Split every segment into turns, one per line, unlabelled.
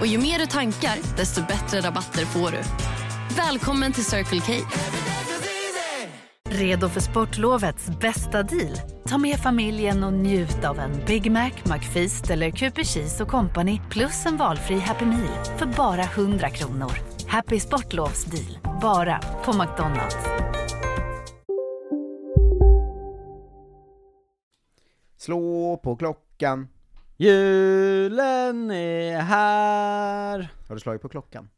Och ju mer du tankar, desto bättre rabatter får du. Välkommen till Circle K.
Redo för sportlovets bästa deal? Ta med familjen och njut av en Big Mac, McFeast eller Cooper Cheese och Company plus en valfri Happy Meal för bara 100 kronor. Happy Sportlovs deal, bara på McDonalds.
Slå på klockan.
Julen är här.
Har du slagit på klockan?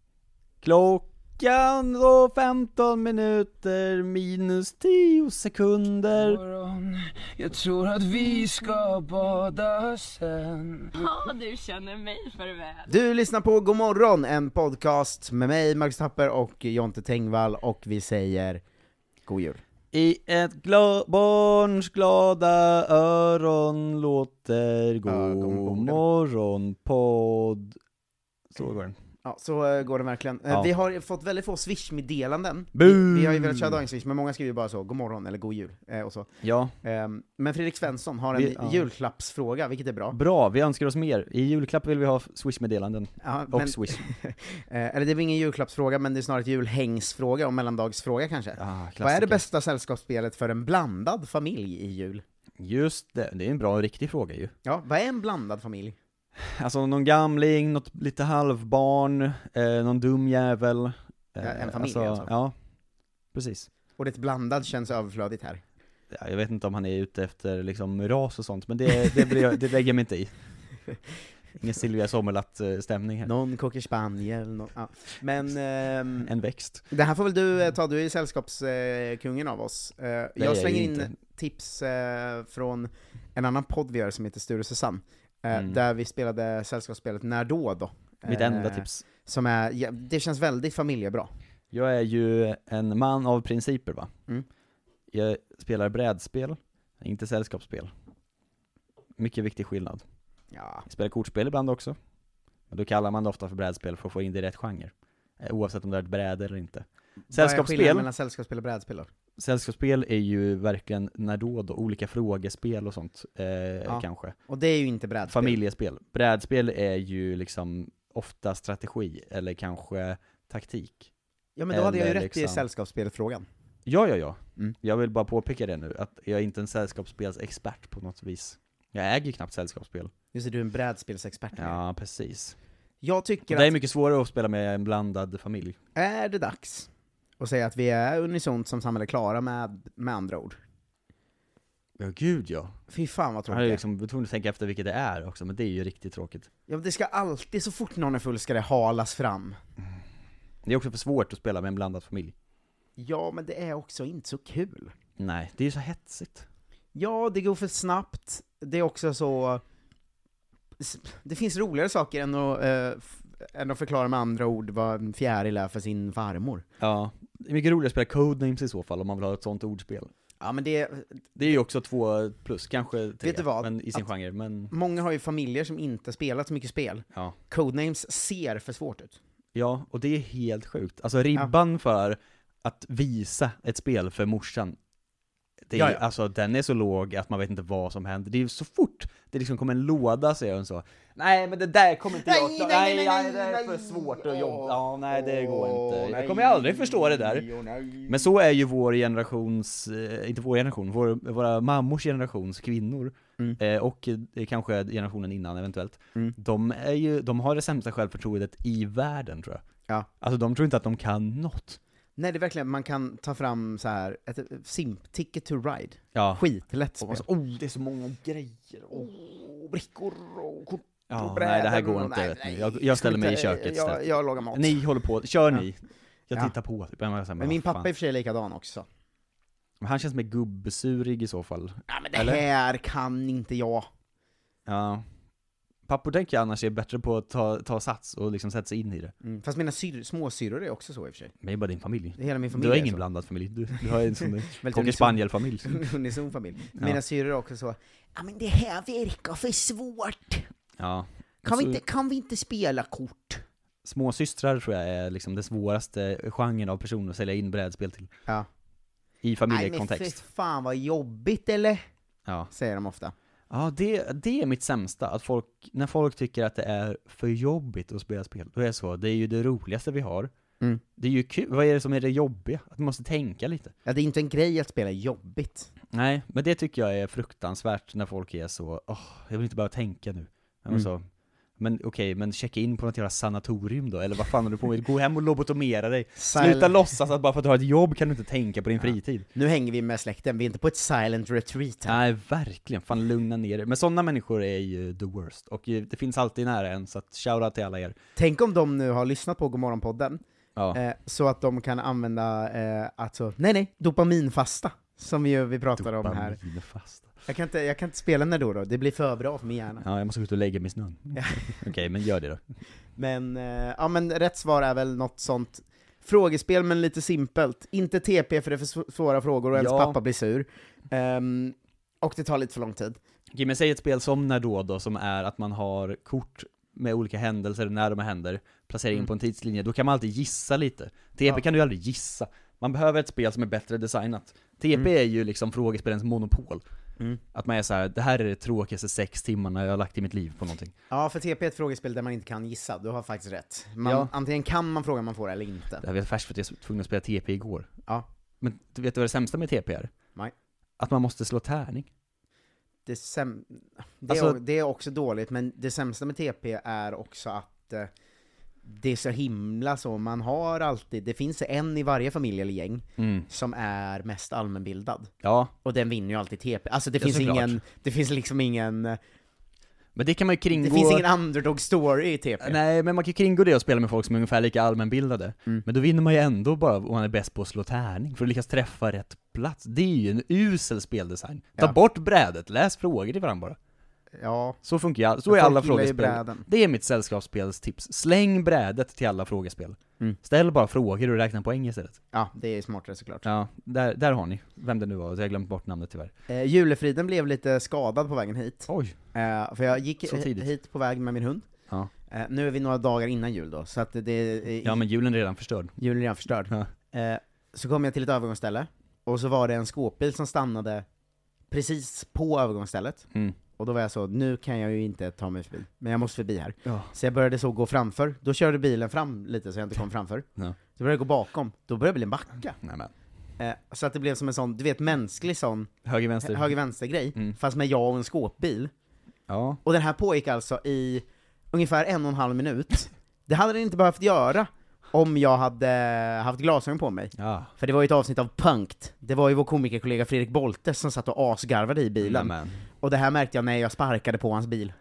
Klockan då 15 minuter minus 10 sekunder.
morgon Jag tror att vi ska bada sen
Du lyssnar på God morgon, en podcast med mig, Marcus Tapper och Jonte Tengvall, och vi säger God Jul.
I ett gla- barns glada öron låter god
Ögonbågen.
morgon podd. Så går den.
Ja, så eh, går det verkligen. Eh,
Ja.
Vi har fått väldigt få swish-meddelanden.
Boo!
Vi har ju velat köra dagens swish, men många skriver ju bara så, God morgon eller God Jul, eh, och så.
Ja,
Ehm, men Fredrik Svensson har en
Vi- ja.
julklappsfråga, vilket är bra.
bra. Vi önskar oss mer. I julklapp vill vi ha swishmeddelanden.
Ja,
Och
men-
swish.
Eh, eller det är väl ingen julklappsfråga, men det är snarare ett julhängsfråga och mellandagsfråga kanske.
Ah,
Vad är
klassiker.
det bästa sällskapsspelet för en blandad familj i jul?
Just det, det är en bra och riktig fråga ju.
Ja, vad är en blandad familj?
Alltså någon gamling, något lite halvbarn, eh, någon dum jävel. Eh,
en familj alltså.
Ja, precis.
Ordet blandad känns överflödigt här.
Ja, jag vet inte om han är ute efter liksom ras och sånt, men det, det, blir, jag- det lägger jag mig inte i. Ingen Silvia Sommerlath-stämning här.
Någon cocker spaniel, någon, ja. Men ehm,
En växt.
det här får väl du eh, ta, du är ju sällskapskungen av oss. Eh,
är
jag
jag
slänger
ju
in
inte.
tips eh, från en annan podd vi gör som heter Sture och Susanne, eh,
Mm.
där vi spelade sällskapsspelet När då då.
Mitt
Eh,
enda tips.
Som är, ja, det känns väldigt familjebra.
Jag är ju en man av principer va.
Mm.
Jag spelar brädspel, inte sällskapsspel. Mycket viktig skillnad.
Ja.
Jag spelar kortspel ibland också. Men då kallar man det ofta för brädspel för att få in det i rätt genre. Eh, Oavsett om det är ett bräde eller inte.
Vad är skillnaden
Sällskapsspel,
mellan sällskapsspel och brädspel då?
sällskapsspel är ju verkligen när då och då, olika frågespel och sånt eh, kanske.
Och det är ju inte brädspel.
Familjespel. Brädspel är ju liksom ofta strategi, eller kanske taktik.
Ja men då hade jag ju
eller
rätt i
liksom-
sällskapsspelfrågan.
Ja, ja, ja.
Mm.
Jag vill bara påpeka det nu, att jag är inte en sällskapsspelsexpert på något vis. Jag äger ju knappt sällskapsspel.
Just det, du är en brädspelsexpert.
Ja, precis.
Jag tycker
Det är
att,
mycket svårare att spela med en blandad familj.
är det dags att säga att vi är unisont som samhälle klara med, med andra ord?
Ja, gud ja.
Fy fan vad
Han är
tråkigt.
ju liksom tvungen att tänka efter vilket det är också, men det är ju riktigt tråkigt.
Ja, men det ska alltid, så fort någon är full ska det halas fram.
Det är också för svårt att spela med en blandad familj.
Ja, men det är också inte så kul.
Nej, det är ju så hetsigt.
Ja, det går för snabbt, det är också så... Det finns roligare saker än att, eh, f- än att förklara med andra ord vad en fjäril är för sin farmor.
Ja. Det är mycket roligare att spela Codenames i så fall, om man vill ha ett sånt ordspel.
Ja, men det,
Det är ju också två plus, kanske tre,
Vet du vad?
Men i sin
Att-
genre, men
många har ju familjer som inte spelat så mycket spel.
ja.
Codenames ser för svårt ut.
Ja, och det är helt sjukt. Alltså ribban för att visa ett spel för morsan, det är,
Ja, ja.
Alltså, den är så låg att man vet inte vad som händer. Det är ju så fort det liksom kommer en låda säger hon så Nej men det där kommer inte jag
Nej,
klara-
nej, nej, nej,
det är
nej.
för svårt att jobba, ja nej det går
Åh,
inte. Jag
nej.
kommer ju aldrig förstå det där.
Åh, nej.
Men så är ju vår generations, eh, inte vår generation, vår, våra mammors generations kvinnor,
Mm.
eh, och eh, kanske generationen innan eventuellt,
Mm.
de, är ju, de har det sämsta självförtroendet i världen tror jag.
Ja.
Alltså de tror inte att de kan något.
Nej, det är verkligen, man kan ta fram så här ett simp, ticket to ride.
Ja.
Skitlätt
Och
spel.
man så, oh, det är så många grejer, oh.
Åh, brickor och kort
Ja,
och brädor.
nej det här går
och-
inte vet
Oh, nej, nej.
ni. Jag, jag ställer mig i
Skit,
köket
Jag,
istället.
jag lagar mat.
Ni håller på, kör ni. Jag
Ja.
tittar på typ. Jag bara så här,
Men
"Vad
min pappa är i
fan."
och för sig likadan också.
Men Han känns mer gubbsurig i så fall.
Ja, men det
Eller?
här kan inte jag.
Ja. Pappor tänker jag annars är bättre på att ta, ta sats och liksom sätta sig in i det.
Mm. Fast mina syr, småsyrror är också så i och för sig.
Men det är bara din familj.
Hela min familj
Du har
är
ingen
så.
blandad familj, du, du har en sån
Väldigt
cocker
unison.
spaniel-familj.
Unison familj.
Ja.
Mina syrror är också så, ja men det här verkar för svårt.
Ja.
Kan vi,
Så-
inte, kan vi inte spela kort?
Småsystrar tror jag är liksom den svåraste genren av personer att sälja in brädspel till.
Ja.
I
Nej men
familjekontext.
för fan vad jobbigt eller?
Ja.
Säger de ofta.
Ja, det, det är mitt sämsta. Att folk, när folk tycker att det är för jobbigt att spela spel, då är det så. Det är ju det roligaste vi har.
Mm.
Det är ju kul. Vad är det som är det jobbiga? Att man måste tänka lite.
Ja, det är inte en grej att spela jobbigt.
Nej, men det tycker jag är fruktansvärt när folk är så, åh, jag vill inte behöva tänka nu. Jag var
Mm.
så, men okej, men checka in på något jävla sanatorium då, eller vad fan håller du på med? Gå hem och lobotomera dig. Sluta
Sil-
låtsas att bara för att du har ett jobb kan du inte tänka på din fritid.
Nu hänger vi med släkten, vi är inte på ett silent retreat här.
Nej, verkligen. Fan lugna ner dig. Men sådana människor är ju the worst. Och ju- det finns alltid nära en, så att shoutout till alla er.
Tänk om de nu har lyssnat på Godmorgonpodden,
Ja.
eh, så att de kan använda, eh, alltså, nej nej, dopaminfasta. Som ju vi pratar om här.
Dopaminfasta.
Jag kan inte, jag kan inte spela när då, då, det blir för bra för min hjärna.
Ja, jag måste gå ut och lägga mig i snön.
Ja.
Okej, men gör det då.
Men, eh, ja men rätt svar är väl något sånt frågespel men lite simpelt. Inte TP för det är för sv- svåra frågor och ens
Ja.
pappa blir sur. Ehm, och det tar lite för lång tid.
Okej, men säg ett spel som när då då, som är att man har kort med olika händelser, när de händer, placerar in
Mm.
på en tidslinje, då kan man alltid gissa lite. TP
Ja.
kan du ju aldrig gissa. Man behöver ett spel som är bättre designat. TP
Mm.
är ju liksom frågespelens monopol.
Mm.
Att man är så här: det här är det tråkigaste sex timmarna jag har lagt i mitt liv på någonting.
Ja, för TP är ett frågespel där man inte kan gissa, du har faktiskt rätt. Man,
Ja.
Antingen kan man fråga man får eller inte.
Det här var färskt för att jag var tvungen att spela TP igår.
Ja.
Men du vet du vad det sämsta med TP är?
Nej.
Att man måste slå tärning.
Det, säm- det, är,
Alltså-
det är också dåligt, men det sämsta med TP är också att eh, det är så himla så, man har alltid, det finns en i varje familj eller gäng som är mest allmänbildad.
Ja,
Och den vinner ju alltid TP. Alltså det
Ja,
finns
såklart.
ingen, det finns liksom ingen, det
men det kan man ju kringgå...
finns ingen underdog story i TP.
Nej, men man kan ju kringgå det och spela med folk som är ungefär lika allmänbildade.
Mm.
Men då vinner man ju ändå bara om man är bäst på att slå tärning, för att lyckas träffa rätt plats. Det är ju en usel speldesign. Ta
Ja.
bort brädet, läs frågor till varandra bara.
Ja,
Så funkar ju all- så
Men
är
folk
alla
gillar ju
frågespel.
bräden.
Det är mitt sällskapsspelstips. Släng brädet till alla frågespel.
Mm.
Ställ bara frågor och räkna poäng istället.
ja, det är smartare såklart.
Ja, där, där har ni. Vem det nu var, jag har glömt bort namnet tyvärr.
Eh, julefriden blev lite skadad på vägen hit.
Oj!
Eh, för jag gick
Så tidigt.
hit på väg med min hund.
Ja,
Eh, nu är vi några dagar innan jul då, så att det är,
ja men julen är redan förstörd.
julen är redan förstörd.
Ja.
Eh, så kom jag till ett övergångsställe, och så var det en skåpbil som stannade precis på övergångsstället.
Mm.
Och då var jag så, nu kan jag ju inte ta mig förbi, men jag måste förbi här.
Ja.
Så jag började så gå framför, då körde bilen fram lite så jag inte kom framför.
Ja.
Så började jag gå bakom, då började bilen backa.
Nej, men.
Eh, så att det blev som en sån, du vet mänsklig sån
Höger, vänster.
höger-vänster-grej,
Mm.
fast med jag och en skåpbil.
Ja.
Och den här pågick alltså i ungefär en och en halv minut. Det hade den inte behövt göra om jag hade haft glasögon på mig.
Ja.
För det var ju ett avsnitt av Punkt. Det var ju vår komikerkollega Fredrik Bolte som satt och asgarvade i bilen.
Mm, Nej, men.
Och det här märkte jag när jag sparkade på hans bil.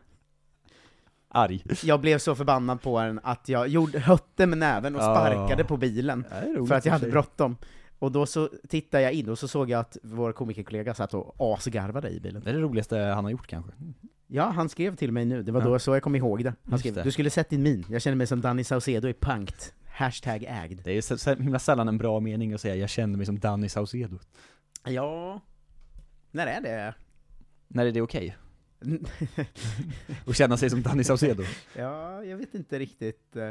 Arg.
Jag blev så förbannad på den att jag gjorde, hötte med näven och
Ja.
sparkade på bilen.
Det är roligt
För att jag
i och
hade
sig.
bråttom. Och då så tittade jag in och så såg jag att vår komikerkollega satt och asgarvade i bilen.
Det är det roligaste han har gjort kanske.
Ja, han skrev till mig nu, det var
Ja.
då så jag kom ihåg det. Han
Just
skrev
det.
du skulle sett din min, jag känner mig som Danny Saucedo i Punkt. Hashtag ägd.
Det är ju så, så himla sällan en bra mening att säga 'Jag kände mig som Danny Saucedo'
Ja... När är det?
När är det okej? Att känna sig som Danny Saucedo?
ja, jag vet inte riktigt. eh.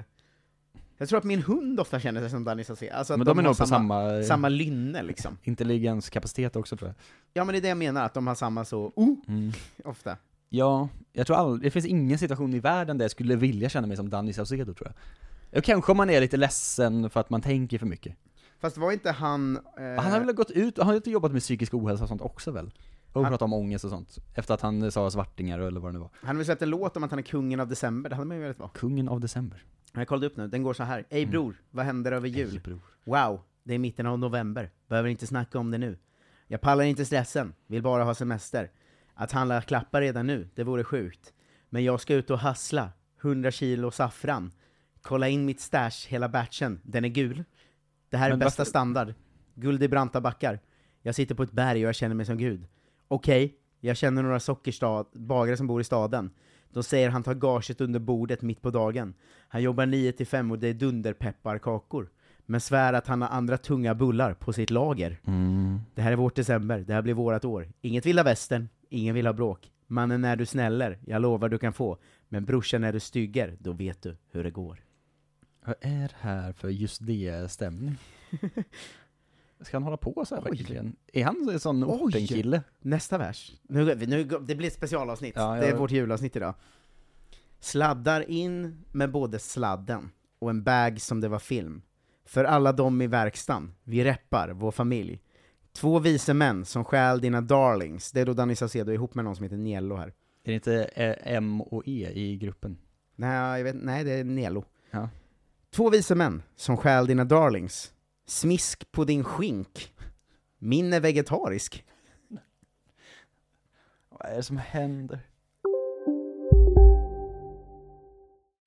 Jag tror att min hund ofta känner sig som Danny Saucedo. Alltså att
Men de är
har
nog på samma,
samma lynne liksom.
intelligenskapacitet också tror jag.
Ja men det är det jag menar, att de har samma så, oh,
Mm.
ofta.
Ja, jag tror all, det finns ingen situation i världen där jag skulle vilja känna mig som Danny Saucedo tror jag. Och kanske om man är lite ledsen för att man tänker för mycket.
Fast var inte han... eh,
Han har väl gått ut, han har ju inte jobbat med psykisk ohälsa och sånt också väl? Och
Han-
pratat om ångest och sånt. Efter att han eh, sa svartingar eller vad det nu var.
Han har väl släppt en låt om att han är kungen av december, det hade man ju velat vara.
Kungen av december.
Jag kollade upp nu, den går så här.
Mm.
Ey bror, vad händer över
Ej,
jul?
bror.
Wow, det är mitten av november. Behöver inte snacka om det nu. Jag pallar inte stressen, vill bara ha semester. Att handla klappar redan nu, det vore sjukt. Men jag ska ut och hassla, 100 kilo saffran. Kolla in mitt stash, hela batchen, den är gul. Det här är
Men
bästa
varför-
standard. Guld i branta backar. Jag sitter på ett berg och jag känner mig som gud. Okej, jag känner några sockerbagare som bor i staden. De säger han tar gaget under bordet mitt på dagen. Han jobbar 9 till 5 och det är dunderpepparkakor. Men svär att han har andra tunga bullar på sitt lager. Det här är vårt december, det här blir vårat år. Inget vilda västern, ingen vill ha bråk. Mannen är du snäller, jag lovar du kan få. Men brorsan är du stygger, då vet du hur det går.
Vad är det här för just det stämning? Ska han hålla på så här
Oj.
verkligen? Är han en sån
Oj.
ortenkille?
Nästa vers. Nu, går vi- nu, går- det blir ett specialavsnitt.
Ja, ja.
Det är vårt julavsnitt idag. Sladdar in med både sladden och en bag som det var film. För alla dem i verkstan, vi reppar, vår familj. Två vise män som stjäl dina darlings. Det är då Danny Saucedo ihop med någon som heter Niello här.
Är det inte eh, M och E i gruppen?
Nej, jag vet, nej det är Niello.
Ja.
Två vise män som stjäl dina darlings. Smisk på din skink. Min är vegetarisk.
Vad är det som händer?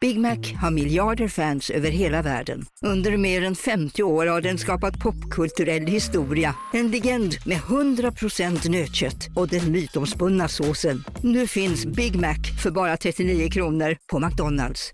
Big Mac har miljarder fans över hela världen. Under mer än 50 år har den skapat popkulturell historia. En legend med 100% nötkött och den mytomspunna såsen. Nu finns Big Mac för bara 39 kronor på McDonalds.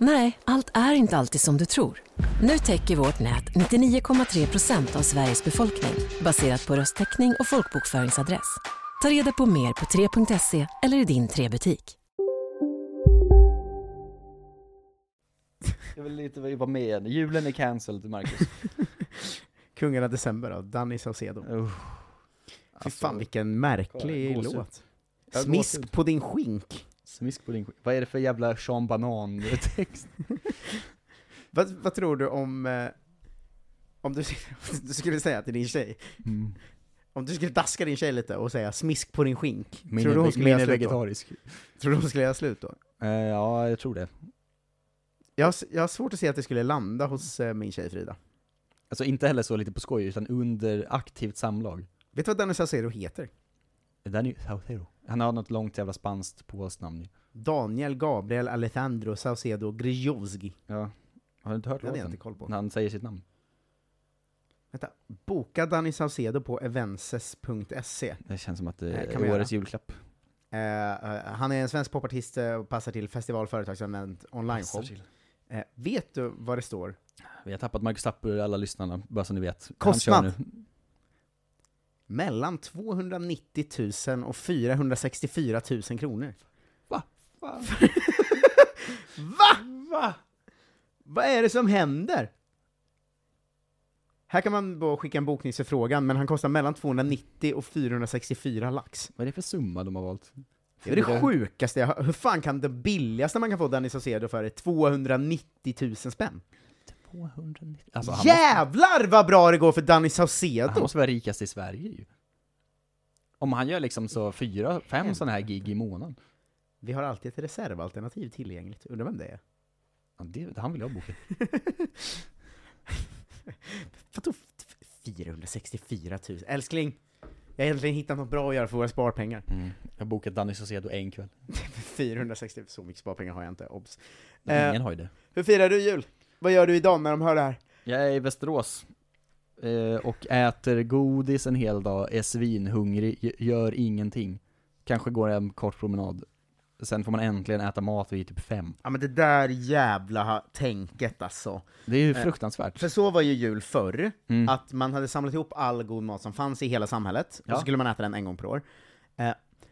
Nej, allt är inte alltid som du tror. Nu täcker vårt nät 99,3 procent av Sveriges befolkning baserat på röstteckning och folkbokföringsadress. Ta reda på mer på 3.se eller i din 3-butik.
Jag vill inte vara med. Julen är cancelled, Marcus.
Kungen av december då, Danny Saucedo.
Uh.
Fy
Alltså,
fan vilken märklig
kolla, gåshud.
låt.
Ja,
Smisk
gåshud.
på din skink.
Smisk på din skit. Vad är det för jävla Sean Banan-text?
Vad, vad tror du om, eh, om du, om du skulle säga till din tjej,
Mm.
om du skulle daska din tjej lite och säga smisk på din skink,
Min
tror, du hon
är-
skulle
min
göra
är
slut då?
vegetarisk.
tror du hon skulle göra slut då?
Eh, ja, jag tror det.
Jag har, s- jag har svårt att se att det skulle landa hos eh, min tjej Frida.
Alltså inte heller så lite på skoj, utan under aktivt samlag.
Vet du vad Danny Saucedo heter?
Den är ju Saucedo. Han har något långt jävla spanskt påsnamn ju.
Daniel Gabriel Alejandro Saucedo Grijovski.
Ja. Har du inte hört
Det hade jag
låten?
inte koll på.
När han säger sitt namn.
Vänta, boka Danny Saucedo på evenses.se.
Det känns som att
Nej,
det
kan
är
vi göra.
årets julklapp.
Eh, eh, han är en svensk popartist eh, och passar till festival, företagsevent, onlineshow. Eh, vet du vad det står?
Vi har tappat Marcus Tapper alla lyssnarna, bara så ni vet.
Kostnad.
Han kör nu.
Mellan 290 000 och 464 000 kronor.
Va?
Va? Va? Vad är det som händer? Här kan man bara skicka en bokningsförfrågan, men han kostar mellan 290 och 464 lax.
Vad är det för summa de har valt?
Det är det sjukaste jag har. Hur fan kan det billigaste man kan få Danny Saucedo för är 290 000 spänn?
290. Alltså, han,
Jävlar vad bra det går för Danny
måste, han
Saucedo!
måste vara rikast i Sverige ju. Om han gör liksom så fyra, fem sådana här gig i månaden.
Vi har alltid ett reservalternativ tillgängligt. Undrar vem det är?
Ja, det, han vill jag boka.
Vadå f- 464 000? Älskling! Jag har egentligen hittat något bra att göra för våra sparpengar.
Mm. Jag har bokat Danny Saucedo en kväll.
460, så mycket sparpengar har jag inte, obs.
Ingen
Eh,
har ju det.
hur firar du jul? Vad gör du idag när de hör det här?
Jag är i Västerås eh, och äter godis en hel dag, är svinhungrig, gö- gör ingenting. Kanske går en kort promenad. Sen får man äntligen äta mat vid typ fem.
Ja men det där jävla ha- tänket alltså.
Det är ju fruktansvärt.
För så var ju jul förr,
Mm.
att man hade samlat ihop all god mat som fanns i hela samhället, och
Ja.
så skulle man äta den en gång per år. Eh,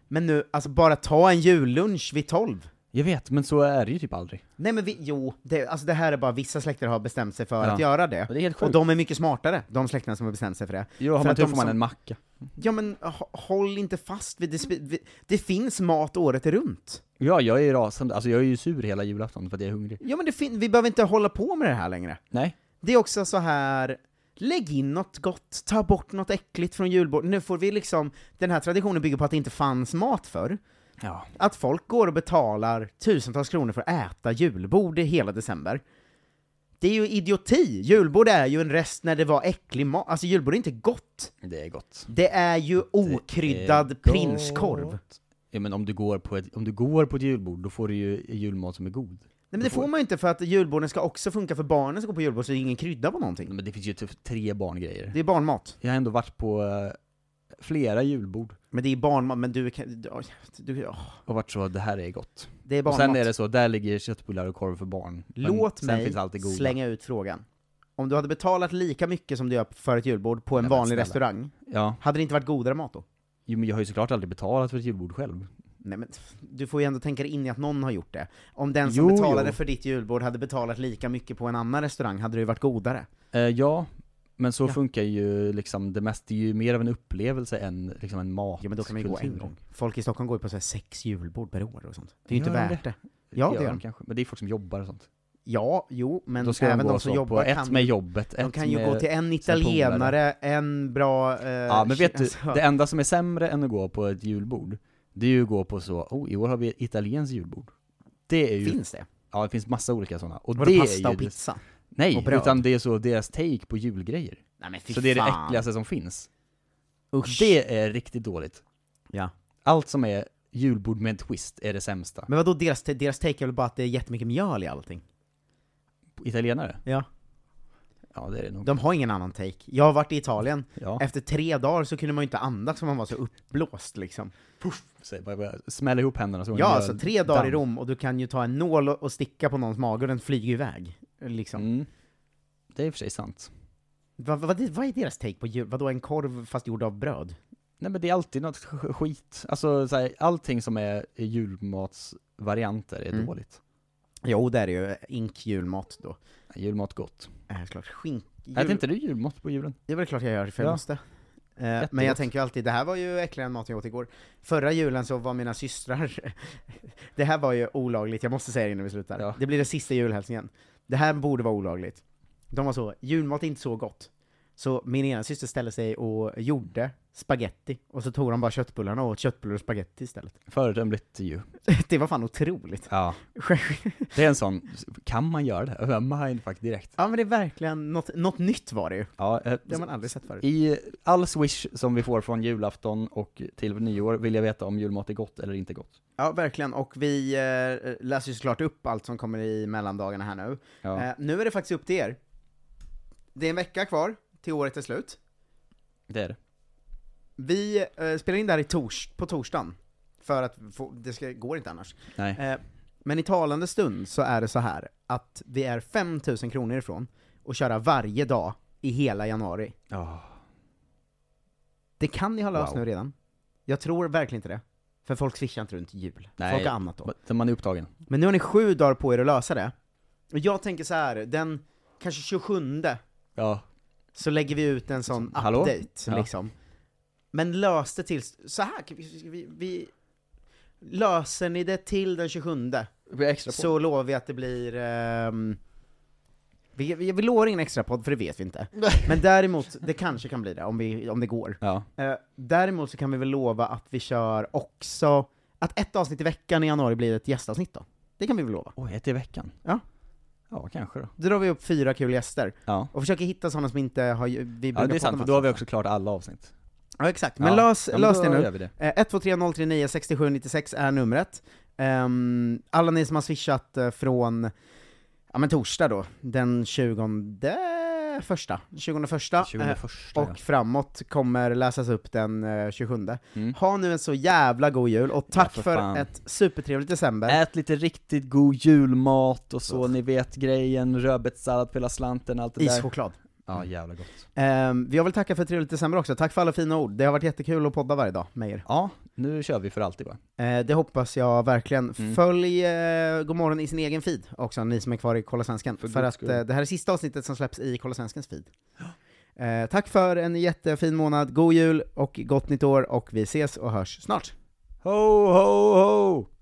men nu, alltså bara ta en jullunch vid 12.
Jag vet, men så är det ju typ aldrig.
Nej men vi, jo, det, alltså det här är bara vissa släkter har bestämt sig för
Ja.
att göra det.
Men det är helt
och
sjukt.
de är mycket smartare, de släkterna som har bestämt sig för det.
Jo, har
för
man
att
tur
de
får typ man
som-
en macka.
Ja men hå- håll inte fast vid det, sp- vid, det finns mat året runt.
Ja, jag är rasande. Alltså jag är ju sur hela julafton för att jag är hungrig.
Ja men det fin- vi behöver inte hålla på med det här längre.
Nej.
Det är också så här lägg in något gott, ta bort något äckligt från julbordet. Nu får vi liksom, den här traditionen bygger på att det inte fanns mat förr.
Ja.
Att folk går och betalar tusentals kronor för att äta julbord i hela december. Det är ju idioti! Julbord är ju en rest när det var äcklig mat. Alltså julbord är inte gott.
Det är gott.
Det är ju okryddad prinskorv. Nej
Ja, men om du, går på ett, om du går på ett julbord, då får du ju julmat som är god.
men det får man ju inte för att julborden ska också funka för barnen som går på julbord så det är ingen krydda på
Nej,
någonting.
Men det finns ju typ tre barngrejer.
Det är barnmat.
Jag har ändå varit på eh, flera julbord
Men det är barnmat, men du kan... Du, du, åh,
och varit så, det här är gott.
det är
Och
barnmat.
sen är det så, där ligger köttbullar och korv för barn. Men
Låt
sen
mig
finns alltid goda.
slänga ut frågan. Om du hade betalat lika mycket som du gör för ett julbord på en
Nej, men
vanlig
snälla.
restaurang,
Ja.
hade det inte varit godare mat då?
Jo, men jag har ju såklart aldrig betalat för ett julbord själv.
Nej men, du får ju ändå tänka dig in i att någon har gjort det. Om den som
Jo,
betalade
jo.
för ditt julbord hade betalat lika mycket på en annan restaurang, hade det ju varit godare.
Eh, ja, men så
Ja.
funkar ju liksom det mesta, det är ju mer av en upplevelse än liksom en mat.
Ja men då kan man ju gå en gång. Folk i Stockholm går ju på så här sex julbord per år och sånt. Det är ju inte
Gör de
värt det. Ja, det gör de.
kanske. Men det är folk som jobbar och sånt.
Ja, jo, men
då ska
även
de gå
de som
så, på
jobbar
ett
kan,
med jobbet,
de
ett
kan ju
med...
gå till en
sina polare.
italienare, en bra... Eh,
Ja men vet du,
alltså,
det enda som är sämre än att gå på ett julbord, det är ju att gå på så, oh i år har vi ett italienskt julbord. Det är ju,
Finns det?
ja det finns massa olika sådana. Och
Var
det
det
är
pasta
ju
och pizza?
Nej,
och bröd?
utan det är så deras take på julgrejer.
Nej men fy
så det är det
fan.
äckligaste som finns.
Usch.
Det är riktigt dåligt.
Ja.
Allt som är julbord med en twist är det sämsta.
Men vadå, deras, deras take är väl bara att det är jättemycket mjöl i allting?
Italienare?
Ja.
Ja det är det nog.
De har ingen annan take. Jag har varit i Italien,
Ja,
efter tre dagar så kunde man ju inte andas för man var så uppblåst liksom.
så bara, bara smälla ihop händerna så
Ja,
gör
alltså tre dagar i
damm.
Rom och du kan ju ta en nål och och sticka på någons mage och den flyger iväg. Liksom.
Mm. Det är i och för sig sant.
Vad, vad, vad är deras take på jul? Vadå, en korv fast gjord av bröd?
Nej men det är alltid något sk- skit. Alltså så här, allting som är julmatsvarianter är
Mm.
dåligt.
Jo, det är det ju. Ink julmat då.
Nej, Julmat gott.
Äh, klart. Skink... Jul...
Äter inte du julmat på julen?
Det är väl klart jag gör, för jag
Ja.
måste. Eh, Men jag
Jättegott.
tänker ju alltid, det här var ju äckligare än mat jag åt igår. Förra julen så var mina systrar, det här var ju olagligt, jag måste säga det innan vi slutar.
Ja.
Det blir den sista julhälsningen. Det här borde vara olagligt. De var så, julmat är inte så gott. Så min ena syster ställde sig och gjorde spaghetti och så tog de bara köttbullarna och åt köttbullar och spaghetti istället.
Föredömligt ju.
Det var fan otroligt.
Ja. Det är en sån, kan man göra det? Mindfuck direkt.
Ja men det är verkligen, något, något nytt var det ju.
Ja, eh,
Det har man aldrig sett förut.
I all swish som vi får från julafton och till nyår vill jag veta om julmat är gott eller inte gott.
Ja, verkligen. Och vi eh, läser ju såklart upp allt som kommer i mellandagarna här nu.
Ja.
Eh, nu är det faktiskt upp till er. Det är en vecka kvar till året är slut.
Det är det.
Vi eh, spelar in det här i tors på torsdagen, för att få, det ska, går inte annars.
Nej.
Eh, men i talande stund så är det så här att vi är 5000 kronor ifrån och köra varje dag i hela januari.
Ja.
Det kan ni ha löst
Wow.
nu redan. Jag tror verkligen inte det. För folk swishar inte runt jul.
Nej.
Folk har annat då.
Men Man är upptagen.
Men nu har ni sju dagar på er att lösa det. Och jag tänker så här, den kanske 27
Ja.
så lägger vi ut en sån
Hallå?
update
Ja.
liksom. Men lös det till, så här, kan vi, ska vi, vi löser ni det till den 27
Det blir extra
så lovar vi att det blir ehm, vi, vi, vi lovar ingen extra podd för det vet vi inte. Men däremot, det kanske kan bli det om, vi, om det går.
Ja.
Eh, däremot så kan vi väl lova att vi kör också, att ett avsnitt i veckan i januari blir ett gästavsnitt då. Det kan vi väl lova.
Oj, ett i veckan?
Ja.
Ja, kanske då.
Då drar vi upp fyra kul gäster,
Ja.
och försöker hitta sådana som inte har... Vi brukar
Ja, det är
prata
sant,
med
för då har vi
oss.
också klart alla avsnitt.
Ja, exakt. Men
Ja.
lös,
Ja, men
lös
då
det nu.
gör vi det.
Eh, 123039 6796 är numret. Ehm, alla ni som har swishat eh, från, ja men torsdag då, den 20 första, 21 eh,
21 ja.
och framåt kommer läsas upp den eh, 27.
Mm.
Ha nu en så jävla god jul, och tack
för
för,
fan.
ett supertrevligt december.
Ät lite riktigt god julmat och så, ni vet grejen, rödbetssallad för hela slanten, allt det där.
Ischoklad.
Ja, jävla gott.
Um, jag vill tacka för ett trevligt december också, tack för alla fina ord. Det har varit jättekul att podda varje dag med er.
Ja, nu kör vi för alltid va?
Eh, det hoppas jag verkligen.
Mm.
Följ eh, Godmorgon i sin egen feed också, ni som är kvar i Kolla Svensken. För,
För guds
att
skull.
eh, det här är sista avsnittet som släpps i Kolla Svenskens feed. Eh, tack för en jättefin månad, god jul och gott nytt år, och vi ses och hörs snart!
Ho, ho, ho!